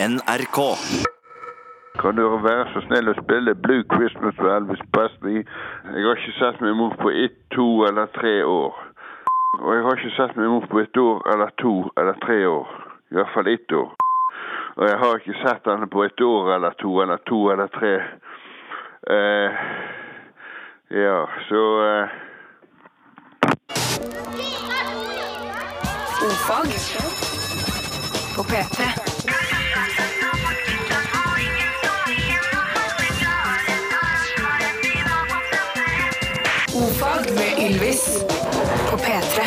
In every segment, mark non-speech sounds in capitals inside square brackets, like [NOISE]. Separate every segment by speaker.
Speaker 1: NRK.
Speaker 2: Kan dere være så snill å spille Blue Christmas med Elvis Presley? Jeg har ikke sett meg imot på ett, to eller tre år. Og jeg har ikke sett meg imot på ett år eller to eller tre år. I hvert fall ett år. Og jeg har ikke sett henne på ett år eller to eller to eller tre. Eh, ja, så eh,
Speaker 3: Ofag på P3. Ofag med Ylvis på P3.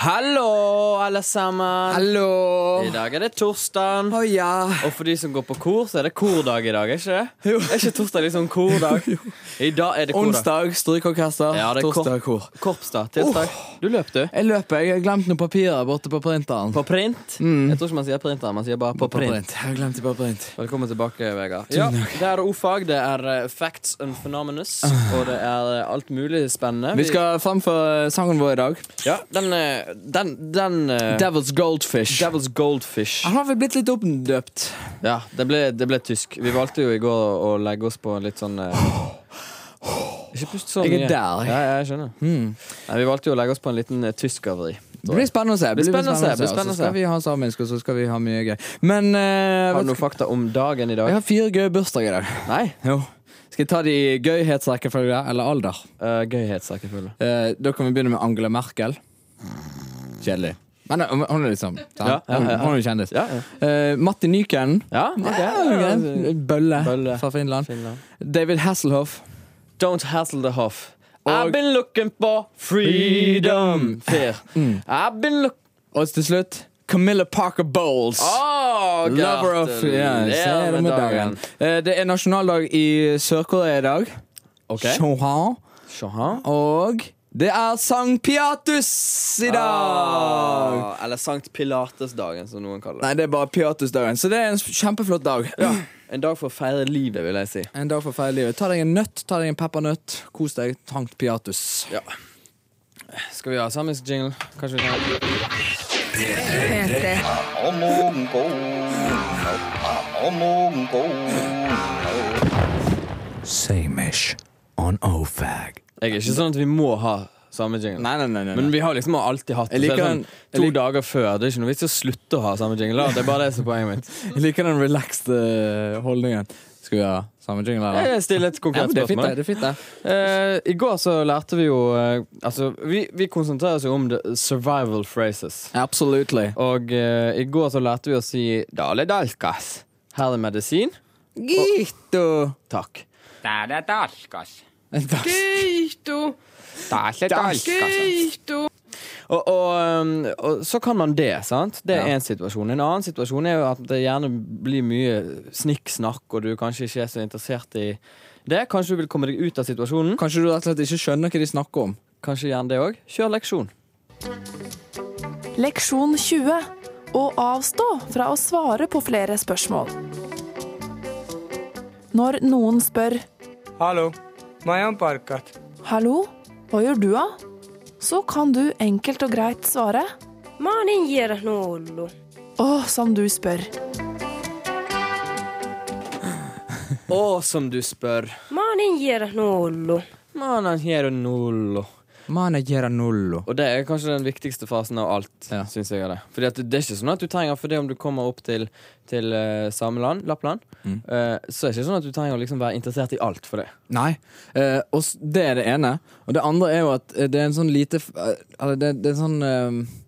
Speaker 4: Hallo, alle sammen.
Speaker 5: Hallo!
Speaker 4: I dag er det torsdag.
Speaker 5: Å ja.
Speaker 4: Og for de som går på kor, så er det kordag i dag. er ikke det? Er ikke torsdag liksom
Speaker 5: [LAUGHS]
Speaker 4: kordag? I dag er det kordag.
Speaker 5: Onsdag strykeorkester,
Speaker 4: Ja, det er
Speaker 5: torsdag
Speaker 4: kor-
Speaker 5: kor.
Speaker 4: Korps, da. Tirsdag. Du løp, du.
Speaker 5: Jeg løper. Jeg har glemt noen papirer borte på printeren.
Speaker 4: På print. Jeg tror ikke man sier printer, man sier bare på,
Speaker 5: Mm. På
Speaker 4: print.
Speaker 5: Jeg har glemt det på print.
Speaker 4: Velkommen tilbake, Vegard. Ja, det er O-fag. Det er eh, facts and phenomenus. Og det er eh, alt mulig spennende.
Speaker 5: Ah. Vi
Speaker 4: eh,
Speaker 5: skal framføre sangen vår i dag.
Speaker 4: Ja, den eh, Den, den eh,
Speaker 5: Devil's Goldfish.
Speaker 4: Devil's Goldfish.
Speaker 5: Han har vel blitt litt oppdøpt.
Speaker 4: Ja, det ble, det ble tysk. Vi valgte jo i går å legge oss på litt sånn [GASPS] eh, Ikke pust så mye.
Speaker 5: Jeg er der,
Speaker 4: Ja,
Speaker 5: jeg.
Speaker 4: ja, jeg Hmm. skjønner. Nei, vi valgte jo å legge oss på en liten eh, tyskervri.
Speaker 5: Det blir spennende å se.
Speaker 4: Blir spennende å se, blir
Speaker 5: Og
Speaker 4: spennende å
Speaker 5: Så skal
Speaker 4: se.
Speaker 5: vi ha samisk, og så skal vi ha mye gøy. Men
Speaker 4: Har
Speaker 5: eh, vet
Speaker 4: du
Speaker 5: du
Speaker 4: noen fakta om dagen i
Speaker 5: hva?
Speaker 4: dag?
Speaker 5: jeg har fire gøye bursdager i dag.
Speaker 4: Nei?
Speaker 5: Jo. Skal jeg ta de i gøyhetsrekkefølge eller alder?
Speaker 4: Uh, Gøyhetsrekkefølge.
Speaker 5: Eh, da kan vi begynne med Angela Merkel. Kjedelig. Men eh, hun er liksom
Speaker 4: Ja, ja, ja, ja.
Speaker 5: Hun er jo kjendis.
Speaker 4: Ja, ja.
Speaker 5: Eh, Matti Nykänen.
Speaker 4: ja,
Speaker 5: Ja,
Speaker 4: ok.
Speaker 5: Bølle,
Speaker 4: Bølle.
Speaker 5: fra Finland.
Speaker 4: Finland.
Speaker 5: David Hasselhoff.
Speaker 4: Don't hassle the huff.
Speaker 5: Og-
Speaker 4: I've been looking for freedom. Hmm. Fair. I've been look...
Speaker 5: Og til slutt Camilla Parker Bowles.
Speaker 4: Oh,
Speaker 5: Lover of ja, se det med dagen. Eh, Det er nasjonaldag i Sør-Korea i dag.
Speaker 4: Ok.
Speaker 5: Sohan.
Speaker 4: Sjaha.
Speaker 5: Og det er Sankt Piatus i dag!
Speaker 4: Ah, eller Sankt Pilates-dagen, som noen kaller det.
Speaker 5: Nei, det er bare Piatusdagen, så det er en kjempeflott dag.
Speaker 4: En dag for å feire livet, vil jeg si.
Speaker 5: En dag for å feire livet. Ta deg en nøtt, ta deg en peppernøtt. Kos deg. Sankt Piatus.
Speaker 4: Skal vi ha samisk jingle? Kanskje vi kan
Speaker 3: P3.
Speaker 5: Samish on OFAG.
Speaker 4: Jeg er ikke sånn at vi må ha samme jingle.
Speaker 5: Nei, nei, nei, nei, nei.
Speaker 4: Men vi har liksom alltid hatt det.
Speaker 5: Jeg
Speaker 4: Så det er
Speaker 5: liker
Speaker 4: sånn,
Speaker 5: den- jeg
Speaker 4: to
Speaker 5: lik-
Speaker 4: dager før. Det er ikke noe vits i å slutte å ha samme jingle. da. Det er bare det som er poenget mitt.
Speaker 5: Jeg liker den relaxed eh, holdningen. Skal vi ha samme jingle, eller?
Speaker 4: [LAUGHS] Jeg stiller et
Speaker 5: Ja,
Speaker 4: konkret
Speaker 5: men det er fint, det.
Speaker 4: spørsmål.
Speaker 5: det er fint, det.
Speaker 4: Eh, I går så lærte vi jo eh, Altså, vi, vi konsentrerer oss jo om the survival phrases.
Speaker 5: Absolutely.
Speaker 4: Og eh, i går så lærte vi å si Dale dalkas. Her er medisin.
Speaker 5: Gito.
Speaker 4: Takk.
Speaker 6: Täällä taskas.
Speaker 4: Dale
Speaker 6: Taskas.
Speaker 4: Og, og, um, og så kan man det, sant? Det er
Speaker 5: Ja.
Speaker 4: én situasjon. En annen situasjon er jo at det gjerne blir mye snikksnakk, og du kanskje ikke er så interessert i det. Kanskje du vil komme deg ut av situasjonen.
Speaker 5: Kanskje du rett og slett ikke skjønner hva de snakker om.
Speaker 4: Kanskje gjerne det òg. Kjør leksjon.
Speaker 7: Leksjon 20. Å avstå fra å svare på flere spørsmål. Når noen spør
Speaker 8: Hallo, mä ajan parkkat.
Speaker 7: 'hallo, hva gjør du da?' så kan du enkelt og greit svare
Speaker 9: Mä oon niin hierahnu ollut.
Speaker 7: 'å, som du spør'.
Speaker 4: Å, som du spør.
Speaker 9: Mä oon niin hierahnu ollut.
Speaker 4: Manan hiero nullo.
Speaker 5: Managera nullo.
Speaker 4: Og det er kanskje den viktigste fasen av alt.
Speaker 5: Ja.
Speaker 4: Synes jeg er det Fordi at det er ikke sånn at du trenger For det om du kommer opp til, til eh, Sameland, Lappland, eh, så er det ikke sånn at du trenger å liksom være interessert i alt for det.
Speaker 5: Nei. Eh, og s- det er det ene. Og det andre er jo at eh, det er en sånn lite f- eh, Eller det, det er en sånn eh,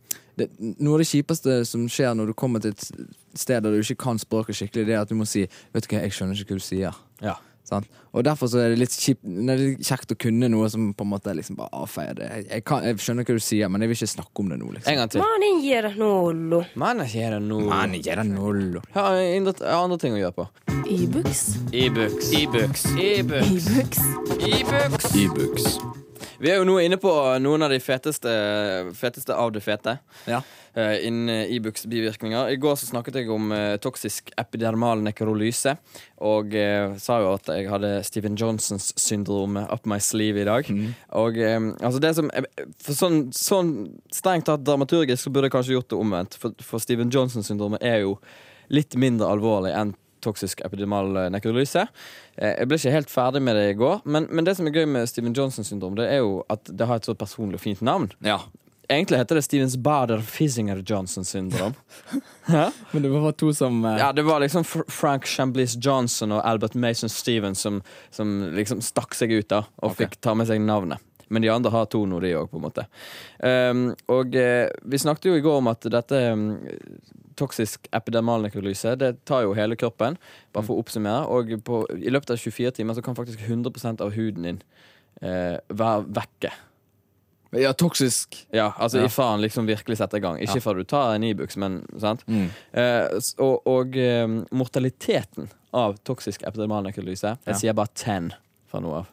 Speaker 5: det, Noe av det kjipeste som skjer når du kommer til et s- sted der du ikke kan språket skikkelig, det er at du må si 'Vet du hva, jeg skjønner ikke hva du sier'.
Speaker 4: Ja.
Speaker 5: Sant? Og derfor så er det litt kjipt nei, det er kjekt å kunne noe som på en måte liksom bare avfeier det. Jeg, jeg, kan, jeg skjønner hva du sier, men jeg vil ikke snakke om det nå. liksom
Speaker 4: En gang til.
Speaker 9: Mä oon niin hierahnu ollut.
Speaker 4: Manan hiero nullo.
Speaker 5: Man, gi deg null.
Speaker 4: Jeg har andre, jeg har andre ting å gjøre på.
Speaker 7: Ibux,
Speaker 4: E-books. E-books.
Speaker 7: Ibux.
Speaker 4: E-books. Vi er jo nå inne på eh, noen av de feteste, feteste av det fete
Speaker 5: Ja.
Speaker 4: eh, innen Ibux bivirkninger. I går så snakket jeg om eh, toksisk epidermal nekrolyse, og eh, sa jo at jeg hadde Steven Johnsons syndrom up my sleeve i dag. Og eh, altså det som for sånn, sånn strengt tatt dramaturgisk så burde jeg kanskje gjort det omvendt, for, for Steven Johnsons syndromet er jo litt mindre alvorlig enn toksisk epidemal eh, nekrolyse. Eh, Jeg ble ikke helt ferdig med det i går, men, men det som er gøy med Steven Johnsons syndrom, det er jo at det har et så personlig og fint navn.
Speaker 5: ja.
Speaker 4: Egentlig heter det Stevens Bader Fizzinger Johnson syndrom.
Speaker 5: Men det var bare to som eh,
Speaker 4: Ja, Det var liksom Fr Frank Shamblis Johnson og Albert Mason Stevens som, som liksom stakk seg ut da og
Speaker 5: Ok.
Speaker 4: fikk ta med seg navnet. Men de andre har to nå, de òg, på en måte. Ehm, og eh, vi snakket jo i går om at dette mm, toksisk epidermal nekrolyse det tar jo hele kroppen, bare for å oppsummere. Og på, i løpet av 24 timer så kan faktisk 100 av huden din eh, være vekke.
Speaker 5: ja, toksisk.
Speaker 4: Ja, altså
Speaker 5: Ja.
Speaker 4: i faen liksom virkelig sette i gang. Ikke
Speaker 5: Ja. Mm.
Speaker 4: fra du tar en Ibux, men sant? Eh, s- og og eh, mortaliteten av toksisk epidermal nekrolyse Jeg
Speaker 5: Ja.
Speaker 4: sier bare 10 fra nå av.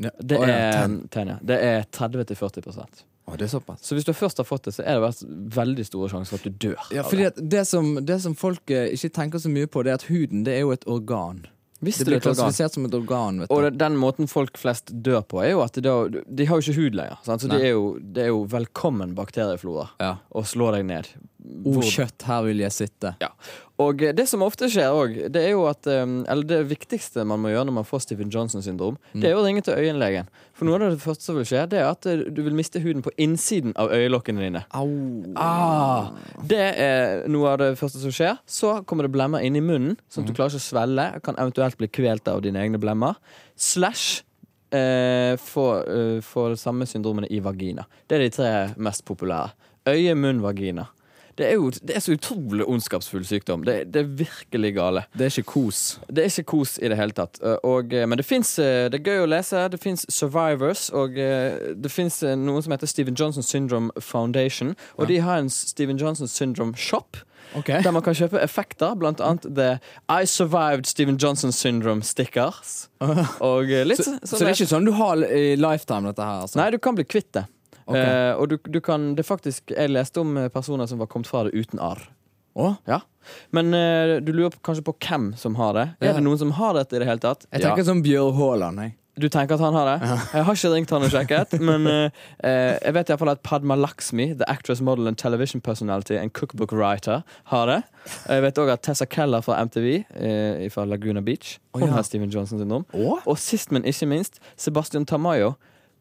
Speaker 5: Ja.
Speaker 4: Det
Speaker 5: Å,
Speaker 4: er,
Speaker 5: ja, ten.
Speaker 4: 10, ja. Det er 30-40
Speaker 5: Å, det er såpass.
Speaker 4: Så hvis du først har fått det, så er det vært veldig store sjanser for at du dør.
Speaker 5: Ja,
Speaker 4: av
Speaker 5: fordi
Speaker 4: det.
Speaker 5: at det som, det som folk eh, ikke tenker så mye på, det er at huden det er jo et organ.
Speaker 4: Visste
Speaker 5: Det
Speaker 4: du
Speaker 5: blir
Speaker 4: et organ?
Speaker 5: klassifisert som et organ. vet
Speaker 4: Og
Speaker 5: du.
Speaker 4: den- den måten folk flest dør på, er jo at de, da- de har jo ikke hud lenger. Sant? Så
Speaker 5: Nei.
Speaker 4: det er, jo, det er jo velkommen bakterieflora
Speaker 5: Ja.
Speaker 4: å slå deg ned.
Speaker 5: O
Speaker 4: Hvor-
Speaker 5: kjøtt, her vil jeg sitte.
Speaker 4: Ja. Og eh, det som ofte skjer òg, det er jo at eh, Eller det viktigste man må gjøre når man får Stephen Johnson syndrom, det er jo å ringe til øyenlegen. For noe av det første som vil skje, det er at eh, du vil miste huden på innsiden av øyelokkene dine.
Speaker 5: Au.
Speaker 4: Ah, det er noe av det første som skjer. Så kommer det blemmer inn i munnen, sånn at du klarer ikke å svelle. Kan eventuelt bli kvelt av dine egne blemmer. Slash eh, får eh, får det samme syndromene i vagina. Det er de tre mest populære. Øye, munn, vagina. Det er jo det er så utrolig ondskapsfull sykdom. Det, det er virkelig gale.
Speaker 5: Det er ikke kos.
Speaker 4: Det er ikke kos i det hele tatt. Eh, Og, eh, men det fins Det er gøy å lese. Det fins Survivors, og eh, det fins noen som heter Steven Johnson Syndrome Foundation. Og de har en Steven Johnson Syndrome Shop. Der man kan kjøpe effekter, blant annet The I Survived Steven Johnson Syndrome
Speaker 5: [LAUGHS]
Speaker 4: Stickers. Og eh, litt
Speaker 5: Så,
Speaker 4: sånn-
Speaker 5: så det er ikke sånn du har i lifetime, dette her? Altså.
Speaker 4: Nei, du kan bli kvitt det.
Speaker 5: Ok.
Speaker 4: Eh, og du, du kan Det er faktisk Jeg leste om eh, personer som var kommet fra det uten arr.
Speaker 5: Å?
Speaker 4: Ja. Men eh, du lurer på- kanskje på hvem som har det.
Speaker 5: Ja.
Speaker 4: Er det noen som har dette i det hele tatt?
Speaker 5: Jeg tenker som Bjørn Haaland. jeg.
Speaker 4: Du tenker at han har det? Jeg har ikke ringt han og sjekket, men eh, eh, jeg vet iallfall at Padma Laxmi, the actress, model and television personality and cookbook writer, har det. Jeg vet òg at Tessa Keller fra MTV eh, fra Laguna Beach Hun
Speaker 5: Å, ja.
Speaker 4: har Steven Johnson syndrom.
Speaker 5: Å?
Speaker 4: Og sist, men ikke minst, Sebastian Tamayo,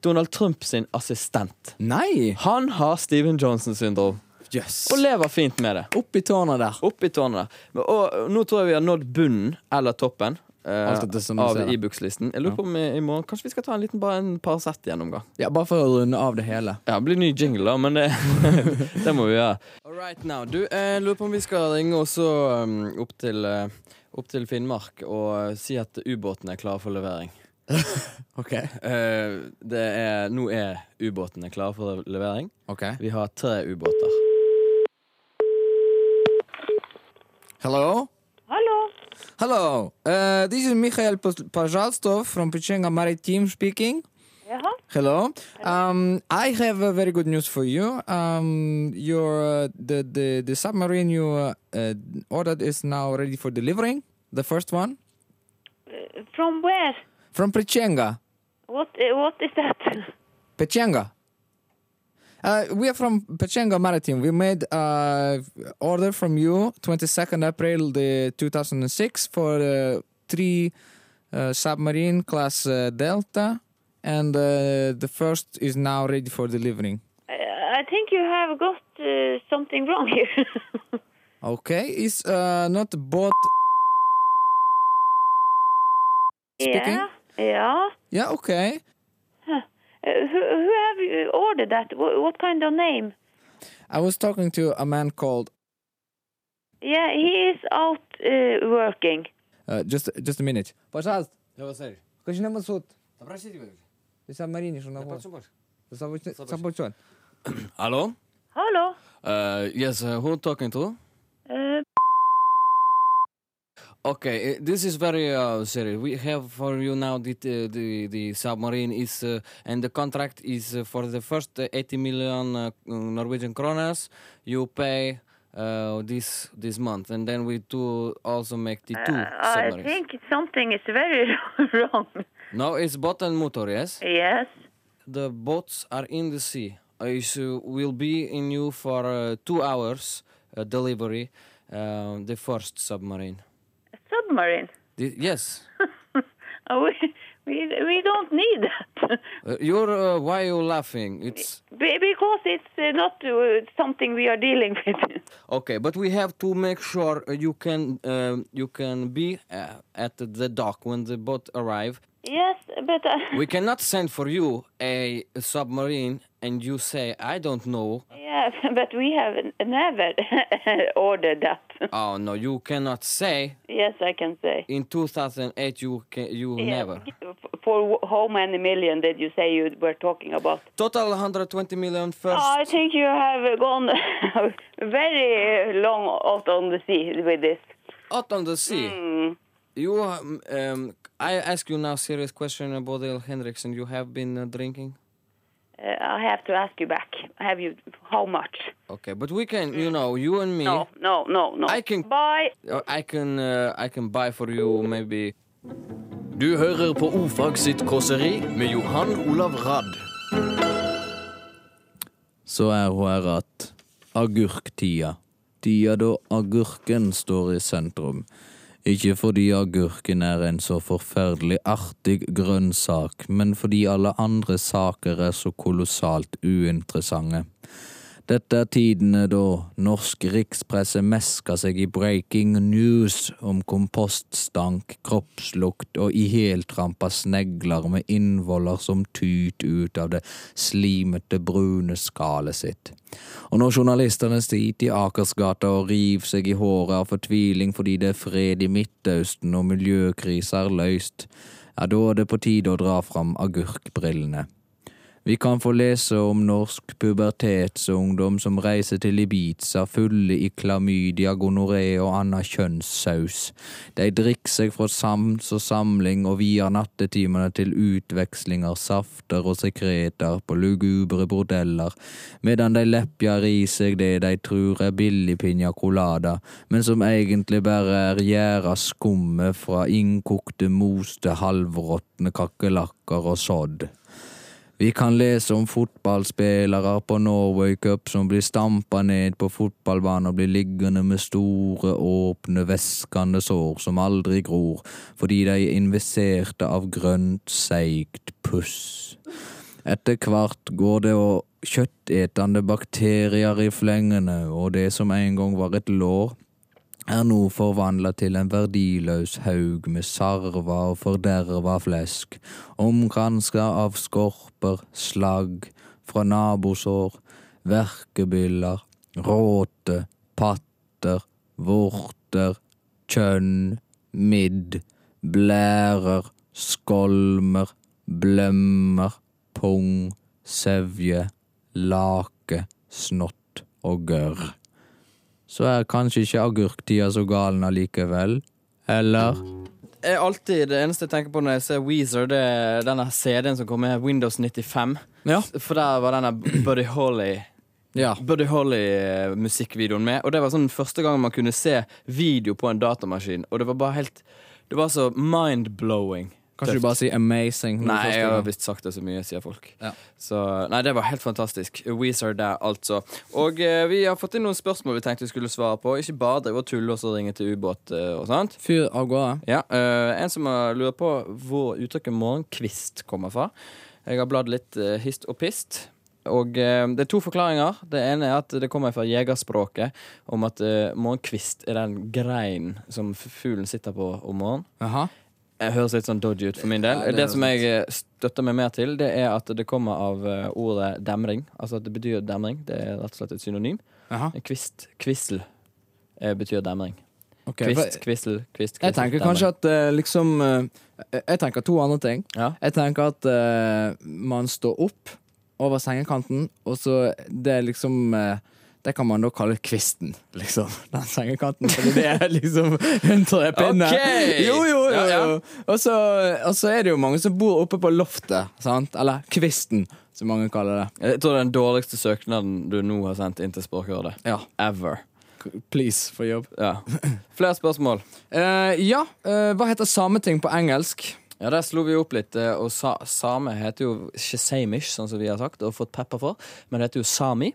Speaker 4: Donald Trump sin assistent.
Speaker 5: Nei!
Speaker 4: Han har Steven Johnson syndrom
Speaker 5: Jøss.
Speaker 4: og lever fint med det.
Speaker 5: Opp i tårnet der.
Speaker 4: Opp i tårnet. Men- Og nå tror jeg vi har nådd bunnen eller toppen. eh,
Speaker 5: Alt etter som du
Speaker 4: av
Speaker 5: ser det.
Speaker 4: Ibux-listen. Jeg lurer på om i, i morgen Kanskje vi skal ta en liten bare en Paracet-gjennomgang.
Speaker 5: Ja, bare for å runde av det hele.
Speaker 4: Ja, det blir ny jingle, da, men det, [LAUGHS] det må vi gjøre. All right now. Du, jeg lurer på om vi skal ringe også um, opp, til, eh, opp til Finnmark og eh, si at ubåten er klar for [LAUGHS] levering.
Speaker 5: Ok.
Speaker 4: Eh, det er, nå er ubåtene klare for levering.
Speaker 5: Ok.
Speaker 4: Vi har tre ubåter.
Speaker 5: Hello?
Speaker 9: Hallå?
Speaker 5: Hello. Uh, this is Mikhail Pas- Pazhalstov from Pechenga Maritime speaking.
Speaker 9: Jaha?
Speaker 5: Hello. Um, I have a very good news for you. Um, your uh, the, the the submarine you uh, uh, ordered is now ready for delivering. The first one
Speaker 9: From where?
Speaker 5: from Pechenga.
Speaker 9: What, eh, what is that? [LAUGHS]
Speaker 5: Pechenga. Uh, we are from Pechenga Maritime. We made uh, order from you 22nd April the 2006 for uh, three uh, submarine class uh, Delta, and uh, the first is now ready for delivering.
Speaker 9: I I think you have got eh, something wrong here. [LAUGHS]
Speaker 5: Okay, it's uh, not bought. Speaking?
Speaker 9: yeah? Yeah?
Speaker 5: Yeah, okay.
Speaker 9: Eh, who, who have you ordered that? What, what kind of name?
Speaker 5: I was talking to a man called.
Speaker 9: Yeah, he is out eh, working.
Speaker 5: Uh, just, just a minute. Пожалуйста,
Speaker 4: Ja, hva sier du?
Speaker 5: скажи нам суд.
Speaker 4: Da bare sier du det.
Speaker 5: Ты сам что на вот.
Speaker 4: Hallo? Eh,
Speaker 9: Hallå?
Speaker 4: Uh, yes, uh, who talking to?
Speaker 9: Eh,
Speaker 4: Okay, uh, this is very uh, serious. We have for you now the uh, the, the submarine is uh, and the contract is uh, for the first uh, 80 million uh, Norwegian kronas you pay uh, this this month and then we do also make the two
Speaker 9: Uh, I
Speaker 4: submarines.
Speaker 9: think something is very [LAUGHS] wrong.
Speaker 4: No, it's boat and motor, yes?
Speaker 9: Yes.
Speaker 4: The boats are in the sea. It will be in you for uh, two hours uh, delivery, uh, the first submarine.
Speaker 9: Submarine. [LAUGHS]
Speaker 4: The- yes.
Speaker 9: Uh, we, we, we don't need that. [LAUGHS]
Speaker 4: Uh, you're, uh, why are you laughing? It's
Speaker 9: Be- because it's uh, not uh, something we are dealing with. [LAUGHS]
Speaker 4: okay, but we have to make sure uh, you can um, you can be uh, at the dock when the boat arrive.
Speaker 9: yes, but uh,
Speaker 4: We cannot send for you a submarine and you say I don't know.
Speaker 9: yeah, [LAUGHS] but we have n- never [LAUGHS] ordered that. [LAUGHS]
Speaker 4: Oh no, you cannot say.
Speaker 9: yes, I can say.
Speaker 4: In 2008, you can, you
Speaker 9: Yes.
Speaker 4: never.
Speaker 9: For wh- how many million did you say you were talking about?
Speaker 4: Total 120 million first.
Speaker 9: I think you have gone [LAUGHS] very long out on the sea with this.
Speaker 4: out on the sea. You, um, um, I ask you now serious question about El Hendrickson. You have been uh, drinking,
Speaker 9: Uh, I have to ask you back. Have you how much?
Speaker 4: okay? But we can, you know, you and me.
Speaker 9: No, no, no, no.
Speaker 4: I can-
Speaker 9: Bye.
Speaker 4: Uh, I can, uh, I can buy for you maybe.
Speaker 1: Du hører på Ofag sitt kåseri med Johan Olav Radd.
Speaker 5: Så er hun her at agurktida. Tida da agurken står i sentrum. Ikke fordi agurken er en så forferdelig artig grønnsak, men fordi alle andre saker er så kolossalt uinteressante. Dette er tidene da norsk rikspresse mesker seg i breaking news om kompoststank, kroppslukt og iheltrampa snegler med innvoller som tyter ut av det slimete, brune skallet sitt. Og når journalistene sitter i Akersgata og river seg i håret av fortviling fordi det er fred i Midtøsten og miljøkrisa er løst, ja, da er det på tide å dra fram agurkbrillene. Vi kan få lese om norsk pubertetsungdom som reiser til Ibiza fulle i klamydia, gonoré og annen kjønnssaus. De drikker seg fra sams og samling og vier nattetimene til utveksling av safter og sekreter på lugubre bordeller, medan de lepjer i seg det de tror er billig piña colada, men som egentlig bare er gjæra skummet fra innkokte, moste, halvråtne kakerlakker og sodd. Vi kan lese om fotballspillere på Norway Cup som blir stampa ned på fotballbanen og blir liggende med store, åpne, væskende sår som aldri gror, fordi de er investerte av grønt, seigt puss. Etter hvert går det å kjøttetende bakterier i flengene, og det som en gang var et lår, er nå forvandla til en verdiløs haug med sarva og forderva flesk, omkranska av skorper, slagg, fra nabosår, verkebyller, råte, patter, vorter, kjønn, midd, blærer, skolmer, blømmer, pung, sevje, lake, snott og gørr så er kanskje ikke agurktida så galen allikevel. Eller
Speaker 4: Jeg alltid, det eneste jeg tenker på når jeg ser Weezer, det er denne CD-en som kom med Windows 95.
Speaker 5: Ja.
Speaker 4: S- For der var denne Buddy Holly.
Speaker 5: Ja.
Speaker 4: Buddy Holly-musikkvideoen med. Og det var sånn første gang man kunne se video på en datamaskin, og det var bare helt Det var så mind-blowing.
Speaker 5: Kanskje du bare sier amazing? når du
Speaker 4: Nei,
Speaker 5: først
Speaker 4: jeg
Speaker 5: er i
Speaker 4: har
Speaker 5: gang.
Speaker 4: visst sagt det så mye, sier folk.
Speaker 5: Ja.
Speaker 4: Så, nei, det var helt fantastisk. Weezer der, altså. Og eh, vi har fått inn noen spørsmål vi tenkte vi skulle svare på. Ikke bare drive og tulle og så ringe til ubåt eh, og sånt.
Speaker 5: Fyr av gårde.
Speaker 4: Ja, eh, En som har lurer på hvor uttrykket morgenkvist kommer fra. Jeg har bladd litt eh, hist og pist. Og eh, Det er to forklaringer. Det ene er at det kommer fra jegerspråket om at eh, morgenkvist er den greinen som f- fuglen sitter på om morgenen.
Speaker 5: Jaha.
Speaker 4: Jeg høres litt sånn dodgy ut for min del.
Speaker 5: Ja, det
Speaker 4: det, som jeg eh, støtter meg mer til, det er at det kommer av eh, ordet demring. Altså at det betyr demring. Det er rett og slett et synonym.
Speaker 5: Jaha.
Speaker 4: En Kvist, kvissel eh, betyr demring.
Speaker 5: ok.
Speaker 4: Kvist,
Speaker 5: for-
Speaker 4: kvissel, kvist, kvissel.
Speaker 5: Jeg tenker kanskje at eh, liksom eh, jeg- Jeg tenker to andre ting.
Speaker 4: Ja.
Speaker 5: Jeg tenker at eh, man står opp over sengekanten, og så det er liksom eh, Det kan man da kalle kvisten, [LAUGHS] liksom. Den sengekanten. Fordi det er liksom hundrepinne.
Speaker 4: Ok!
Speaker 5: Jo, jo, jo.
Speaker 4: Ja, ja.
Speaker 5: jo. Og, så, og så er det jo mange som bor oppe på loftet, sant? Eller kvisten, som mange kaller det.
Speaker 4: Jeg tror det er den dårligste søknaden du nå har sendt inn til Språkrådet.
Speaker 5: Ja.
Speaker 4: Ever.
Speaker 5: Please, for jobb.
Speaker 4: Ja. Flere spørsmål.
Speaker 5: Eh, ja, eh, hva heter sameting på engelsk?
Speaker 4: Ja, Der slo vi opp litt, eh, og sa same heter jo ikke samish, sånn som vi har sagt og fått pepper for, men det heter jo sami,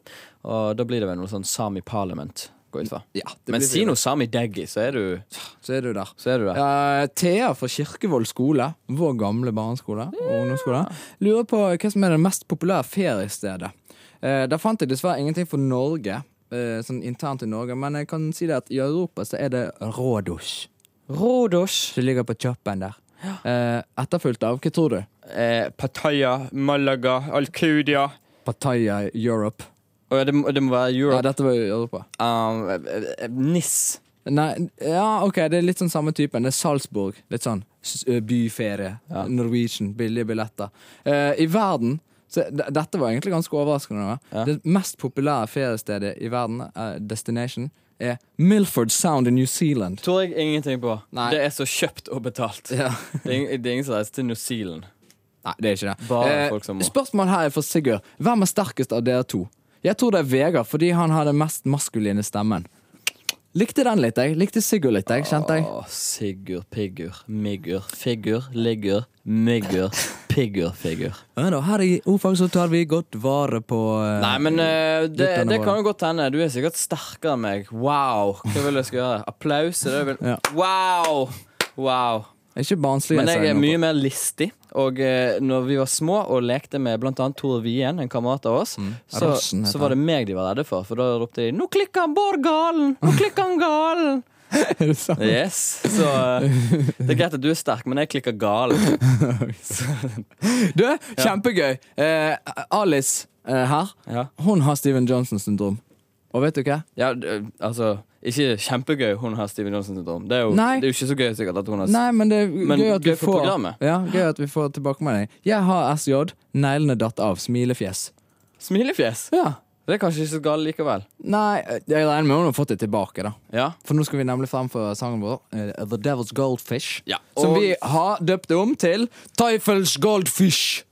Speaker 4: og da blir det vel noe sånn sami parliament, går jeg ut fra.
Speaker 5: Ja, det
Speaker 4: men
Speaker 5: blir
Speaker 4: si
Speaker 5: fint.
Speaker 4: noe sami deggy, så er du,
Speaker 5: Så er du der.
Speaker 4: så er du der.
Speaker 5: Eh, Thea fra Kirkevold skole, vår gamle barneskole og ungdomsskole, lurer på hva som er det mest populære feriestedet. Eh, der fant jeg dessverre ingenting for Norge, eh, sånn internt i Norge, men jeg kan si det at i Europa så er det Rådhus. Rådhus? Som ligger på Kjøppen der. Eh, Etterfulgt av, hva tror du?
Speaker 4: Eh, Pattaya, Malaga, Alcudia.
Speaker 5: Pattaya Europe.
Speaker 4: Og det, må- det må være
Speaker 5: Ja,
Speaker 4: Europe.
Speaker 5: dette var jo Europa.
Speaker 4: Um, eh, eh, Nis.
Speaker 5: Nei, ja, ok, det er litt sånn samme typen. Det er Salzburg. Litt sånn s- ø, byferie. Norwegian, billige billetter. Eh, I verden så, d- Dette var egentlig ganske overraskende. da. Det mest populære feriestedet i verden, eh, destination, er Milford Sound i New Zealand.
Speaker 4: Tror jeg ingenting på.
Speaker 5: Nei.
Speaker 4: Det er så kjøpt og betalt.
Speaker 5: Ja.
Speaker 4: [LAUGHS] Det, er ingen, det er ingen som reiser til New Zealand.
Speaker 5: Nei, det er ikke det. Eh,
Speaker 4: Bare folk som må.
Speaker 5: spørsmål her er fra Sigurd. Hvem er sterkest av dere to? Jeg tror det er Vegard, fordi han har den mest maskuline stemmen. Likte den litt, jeg. Likte Sigurd litt, jeg. Kjente jeg.
Speaker 4: Å, Sigurd, piggur, miggur, figur, liggur, miggur, piggur, figur.
Speaker 5: Ja, da, her i Ofag så tar vi godt vare på eh,
Speaker 4: Nei, men eh, det,
Speaker 5: Lytterne
Speaker 4: det
Speaker 5: våre.
Speaker 4: kan jo godt hende. Du er sikkert sterkere enn meg. Wow! Hva vil jeg skal gjøre? Applaus? Er det jeg vil?
Speaker 5: Ja.
Speaker 4: Wow! Wow.
Speaker 5: Ikke barnslig.
Speaker 4: Men
Speaker 5: jeg
Speaker 4: jeg
Speaker 5: sier
Speaker 4: er
Speaker 5: nå
Speaker 4: mye mer listig. Og eh, når vi var små og lekte med bl.a. Tore Wien, en kamerat av oss, så,
Speaker 5: Rossen Mm. heter
Speaker 4: så var det meg de var redde for. For da ropte de 'Nå klikker han Bård galen!
Speaker 5: [LAUGHS]
Speaker 4: Nå klikker han galen!'
Speaker 5: på. Er det sånn. sant?
Speaker 4: Yes, Så eh, det er greit at du er sterk, men jeg klikker galen.
Speaker 5: [LAUGHS] Du, kjempegøy! Eh, Alice eh, her,
Speaker 4: Ja.
Speaker 5: hun har Steven Johnson-syndrom. Og vet du hva?
Speaker 4: Ja, d- altså Ikke kjempegøy hun har Steven Johnson-syndrom. Det, er jo-
Speaker 5: Nei.
Speaker 4: det er jo ikke så gøy sikkert at hun har
Speaker 5: Nei, men det er gøy at
Speaker 4: gøy
Speaker 5: vi
Speaker 4: for
Speaker 5: får
Speaker 4: programmet.
Speaker 5: Ja, gøy at vi får tilbakemelding. Jeg har SJ. Neglene datt av. Smilefjes.
Speaker 4: smilefjes.
Speaker 5: Ja.
Speaker 4: Det er kanskje ikke så galt likevel.
Speaker 5: Nei, eh, jeg regner med hun har fått det tilbake, da.
Speaker 4: Ja.
Speaker 5: For nå skal vi nemlig fremføre sangen vår, eh, The Devil's Goldfish.
Speaker 4: Ja,
Speaker 5: Som
Speaker 4: og-
Speaker 5: vi har døpt om til Teufels Goldfish.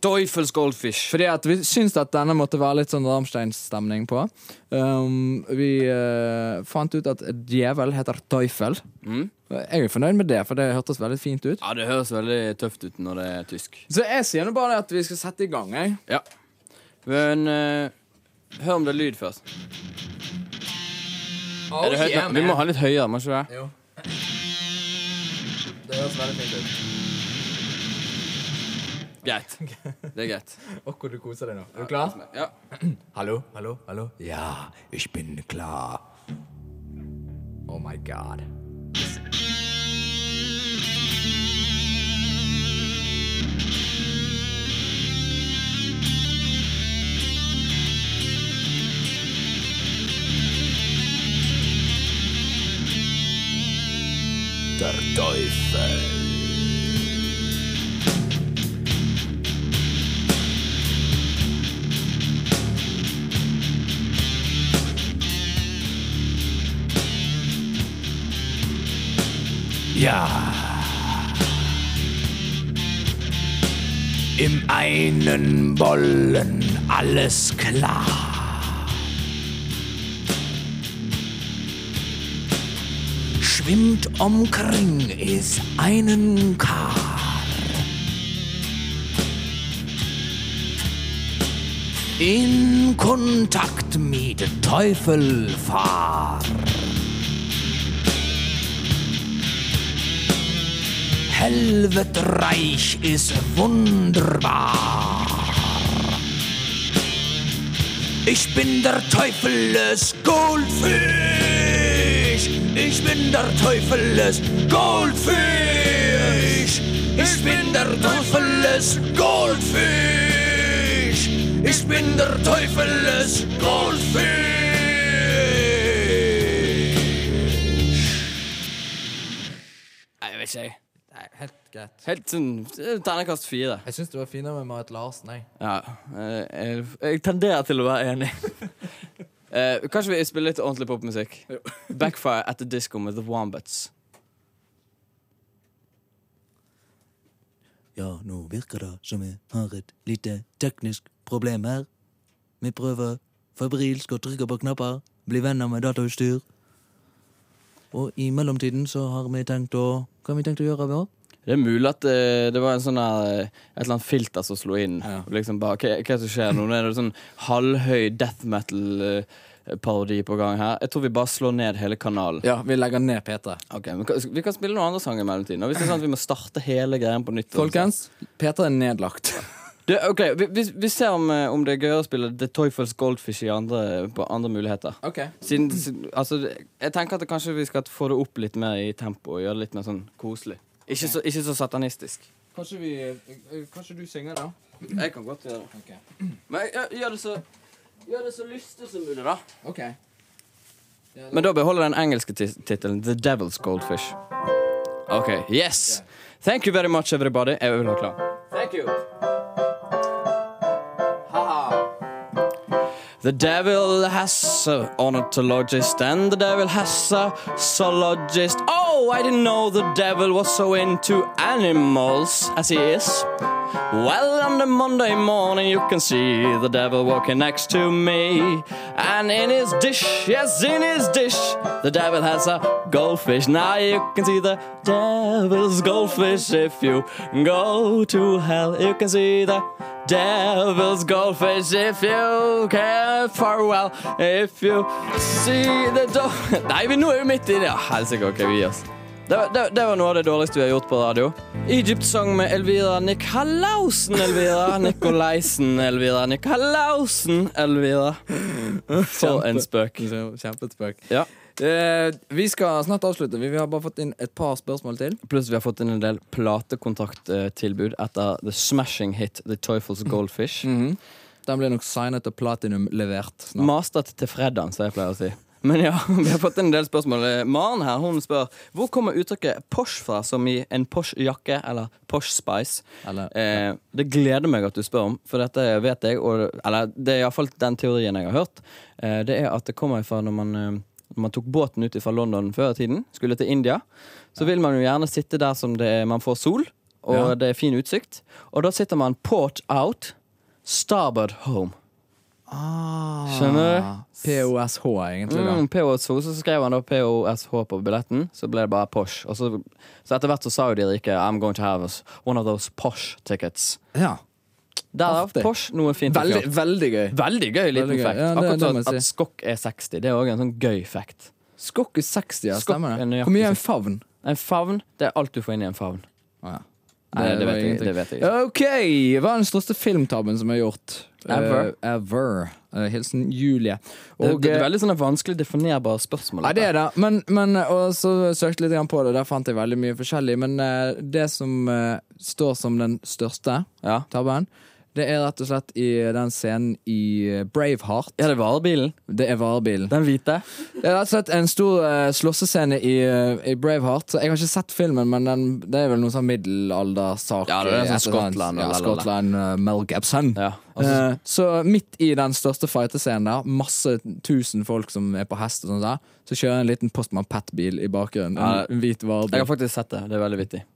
Speaker 4: Teufels goldfish.
Speaker 5: Fordi at vi syns at denne måtte være litt sånn Rammstein-stemning på. Um, vi eh, fant ut at djevel heter Teufel. Jeg er fornøyd med det, for det hørtes veldig fint ut.
Speaker 4: Mm. Ja, det høres veldig tøft ut når det er tysk.
Speaker 5: Så jeg sier nå bare at vi skal sette i gang, jeg.
Speaker 4: Ja. Men eh, hør om det er lyd først. er det høyt nå? Vi må ha litt høyere, må ikke det?
Speaker 5: Jo. Det høres veldig fint ut.
Speaker 4: Greit. Det er greit.
Speaker 5: Å, hvor du koser deg nå. Er du klar?
Speaker 4: Ja.
Speaker 5: [CLEARS THROAT] Hallo, hallo, hallo. Ja, ich bin klar. Oh my god.
Speaker 10: Im einen Bollen alles klar. Schwimmt umkring ist einen Kar. In Kontakt mit Teufel fahr. Helvetreich ist wunderbar. Ich bin der Teufel des Goldfisch. Ich bin der Teufel des Goldfisch. Ich bin der Teufel des Goldfisch. Ich bin der Teufel des Goldfisch.
Speaker 4: Nei, jeg vet ikke, jeg.
Speaker 5: Helt greit.
Speaker 4: Helt sånn eh, terningkast fire.
Speaker 5: Jeg syns det var finere med Marit Larsen, jeg. [LAUGHS]
Speaker 4: Ja. eh, Jeg, jeg tenderer til å være enig. Eh, kanskje vi spiller litt ordentlig popmusikk? [LAUGHS] Backfire at the Disco med The Wombats.
Speaker 11: Ja, nå virker det som vi har et lite teknisk problem her. Vi prøver febrilsk å trykke på knapper, bli venner med datautstyr. Og i mellomtiden så har vi tenkt å Hva har vi tenkt å gjøre, Bjørn?
Speaker 4: Det er mulig at eh, det var en sånn her, eh, et eller annet filter som slo inn. Og Liksom bare, hva, hva er det som skjer nå? Nå er det sånn halvhøy death metal-parodi på gang her. Jeg tror vi bare slår ned hele kanalen.
Speaker 5: Ja, vi legger ned P3.
Speaker 4: Ok, men kan- Vi kan spille noen andre sanger i mellomtiden. Og hvis det er sånn at vi må starte hele greien på nytt
Speaker 5: Folkens, P3 er nedlagt.
Speaker 4: Det, ok, vi, vi, vi ser om, eh, om det er gøyere å spille The Toyfels Goldfish i andre, på andre muligheter.
Speaker 5: Ok.
Speaker 4: Siden, siden- altså, det- jeg tenker at det kanskje vi skal få det opp litt mer i tempo og gjøre det litt mer sånn koselig. Ikke så, ikke så satanistisk.
Speaker 5: Kanskje, vi, eh, kanskje du synger, da?
Speaker 4: Jeg kan godt gjøre det. Men gjør, gjør, det så, gjør det så lystig som mulig, da.
Speaker 5: Ok
Speaker 4: Men da beholder den engelske tis- tittelen The Devil's Goldfish. OK. Yes! Thank you very much, everybody. Jeg vil ha klar. Thank you. The devil has a ornithologist and the devil has a zoologist. Oh, I didn't know the devil was so into animals as he is. Well, on the Monday morning, you can see the devil walking next to me. And in his dish, yes, in his dish, the devil has a goldfish. Now you can see the devil's goldfish. If you go to hell, you can see the devil's goldfish. If you care farewell, if you see the do- [LAUGHS] Nei, vi nå er vi midt i det. Ja, Helsike, OK, vi gir oss. Det, var- det, det var noe av det dårligste vi har gjort på radio. Egypt sang med Elvira Nikolausen, Elvira Nikolaisen, Elvira Nikolausen, Elvira. For en spøk.
Speaker 5: Kjempespøk.
Speaker 4: Ja.
Speaker 5: Eh, vi skal snart avslutte. Vi, vi har bare fått inn et par spørsmål til.
Speaker 4: Pluss vi har fått inn en del platekontakttilbud etter The Smashing Hit The Toyfels Goldfish.
Speaker 5: Den blir nok signet og platinum levert snart.
Speaker 4: Mastert til fredagen, som jeg pleier å si. Men ja, vi har fått inn en del spørsmål. Eh, Maren her, hun spør hvor kommer uttrykket posh fra, som i en posh-jakke eller posh-spice? eh, det gleder meg at du spør om, for dette vet jeg, og, eller det er iallfall den teorien jeg har hørt. Eh, det er at det kommer fra når man eh, når man tok båten ut fra London før i tiden, skulle til India, så vil man jo gjerne sitte der som det er, man får sol, og
Speaker 5: Ja.
Speaker 4: det er fin utsikt. Og da sitter man port out, starboard home. Skjønner du?
Speaker 5: POSH, egentlig. da
Speaker 4: Mm, POSH, så skrev han da POSH på billetten, så ble det bare posh. Og så, så etter hvert så sa jo de rike I'm going to have us one of those posh tickets.
Speaker 5: Ja.
Speaker 4: Derav
Speaker 5: Artig.
Speaker 4: posh, noe fint. og
Speaker 5: Veldig,
Speaker 4: flott.
Speaker 5: veldig gøy.
Speaker 4: veldig gøy liten
Speaker 5: Veldig gøy.
Speaker 4: fact.
Speaker 5: Ja, det-
Speaker 4: Akkurat
Speaker 5: det
Speaker 4: som
Speaker 5: må jeg
Speaker 4: at, at
Speaker 5: si.
Speaker 4: skokk er 60. Det er òg en sånn gøy fact.
Speaker 5: Skokk er 60, ja.
Speaker 4: Skokk
Speaker 5: Stemmer
Speaker 4: er
Speaker 5: det.
Speaker 4: nøyaktig
Speaker 5: Hvor mye er en favn?
Speaker 4: En favn, det er alt du får inn i en favn. Nei, det, vet
Speaker 5: var
Speaker 4: jeg, Eh, det
Speaker 5: ingenting.
Speaker 4: vet jeg ikke.
Speaker 5: OK! Hva er den største filmtabben som er gjort?
Speaker 4: Ever.
Speaker 5: Eh, ever. Eh, Hilsen Julie.
Speaker 4: Det,
Speaker 5: Og,
Speaker 4: det er
Speaker 5: eh,
Speaker 4: veldig sånne vanskelig definerbare spørsmål.
Speaker 5: Ja, det er det. Men, men og så søkte jeg litt grann på det, der fant jeg veldig mye forskjellig. Men eh, det som eh, står som den største tabben, det er rett og slett i den scenen i eh, Braveheart.
Speaker 4: Ja, det er varebilen.
Speaker 5: Det er varebilen.
Speaker 4: Den hvite.
Speaker 5: Det er rett og slett en stor eh, slåssescene i, eh, i Braveheart. Så jeg har ikke sett filmen, men den, det er vel noen sånn middelaldersak.
Speaker 4: Ja, det er
Speaker 5: eh,
Speaker 4: sånn
Speaker 5: et eller
Speaker 4: Skottland og
Speaker 5: annet. Ja,
Speaker 4: la, la, la.
Speaker 5: Skottland, eh, Mel Gibson.
Speaker 4: Ja.
Speaker 5: Eh, så midt i den største fightescenen der, masse tusen folk som er på hest, sånn og sånt der så kjører en liten Postman Pat-bil i bakgrunnen. En, en hvit
Speaker 4: Jeg har
Speaker 5: varebil.
Speaker 4: faktisk sett det. Det er veldig vittig.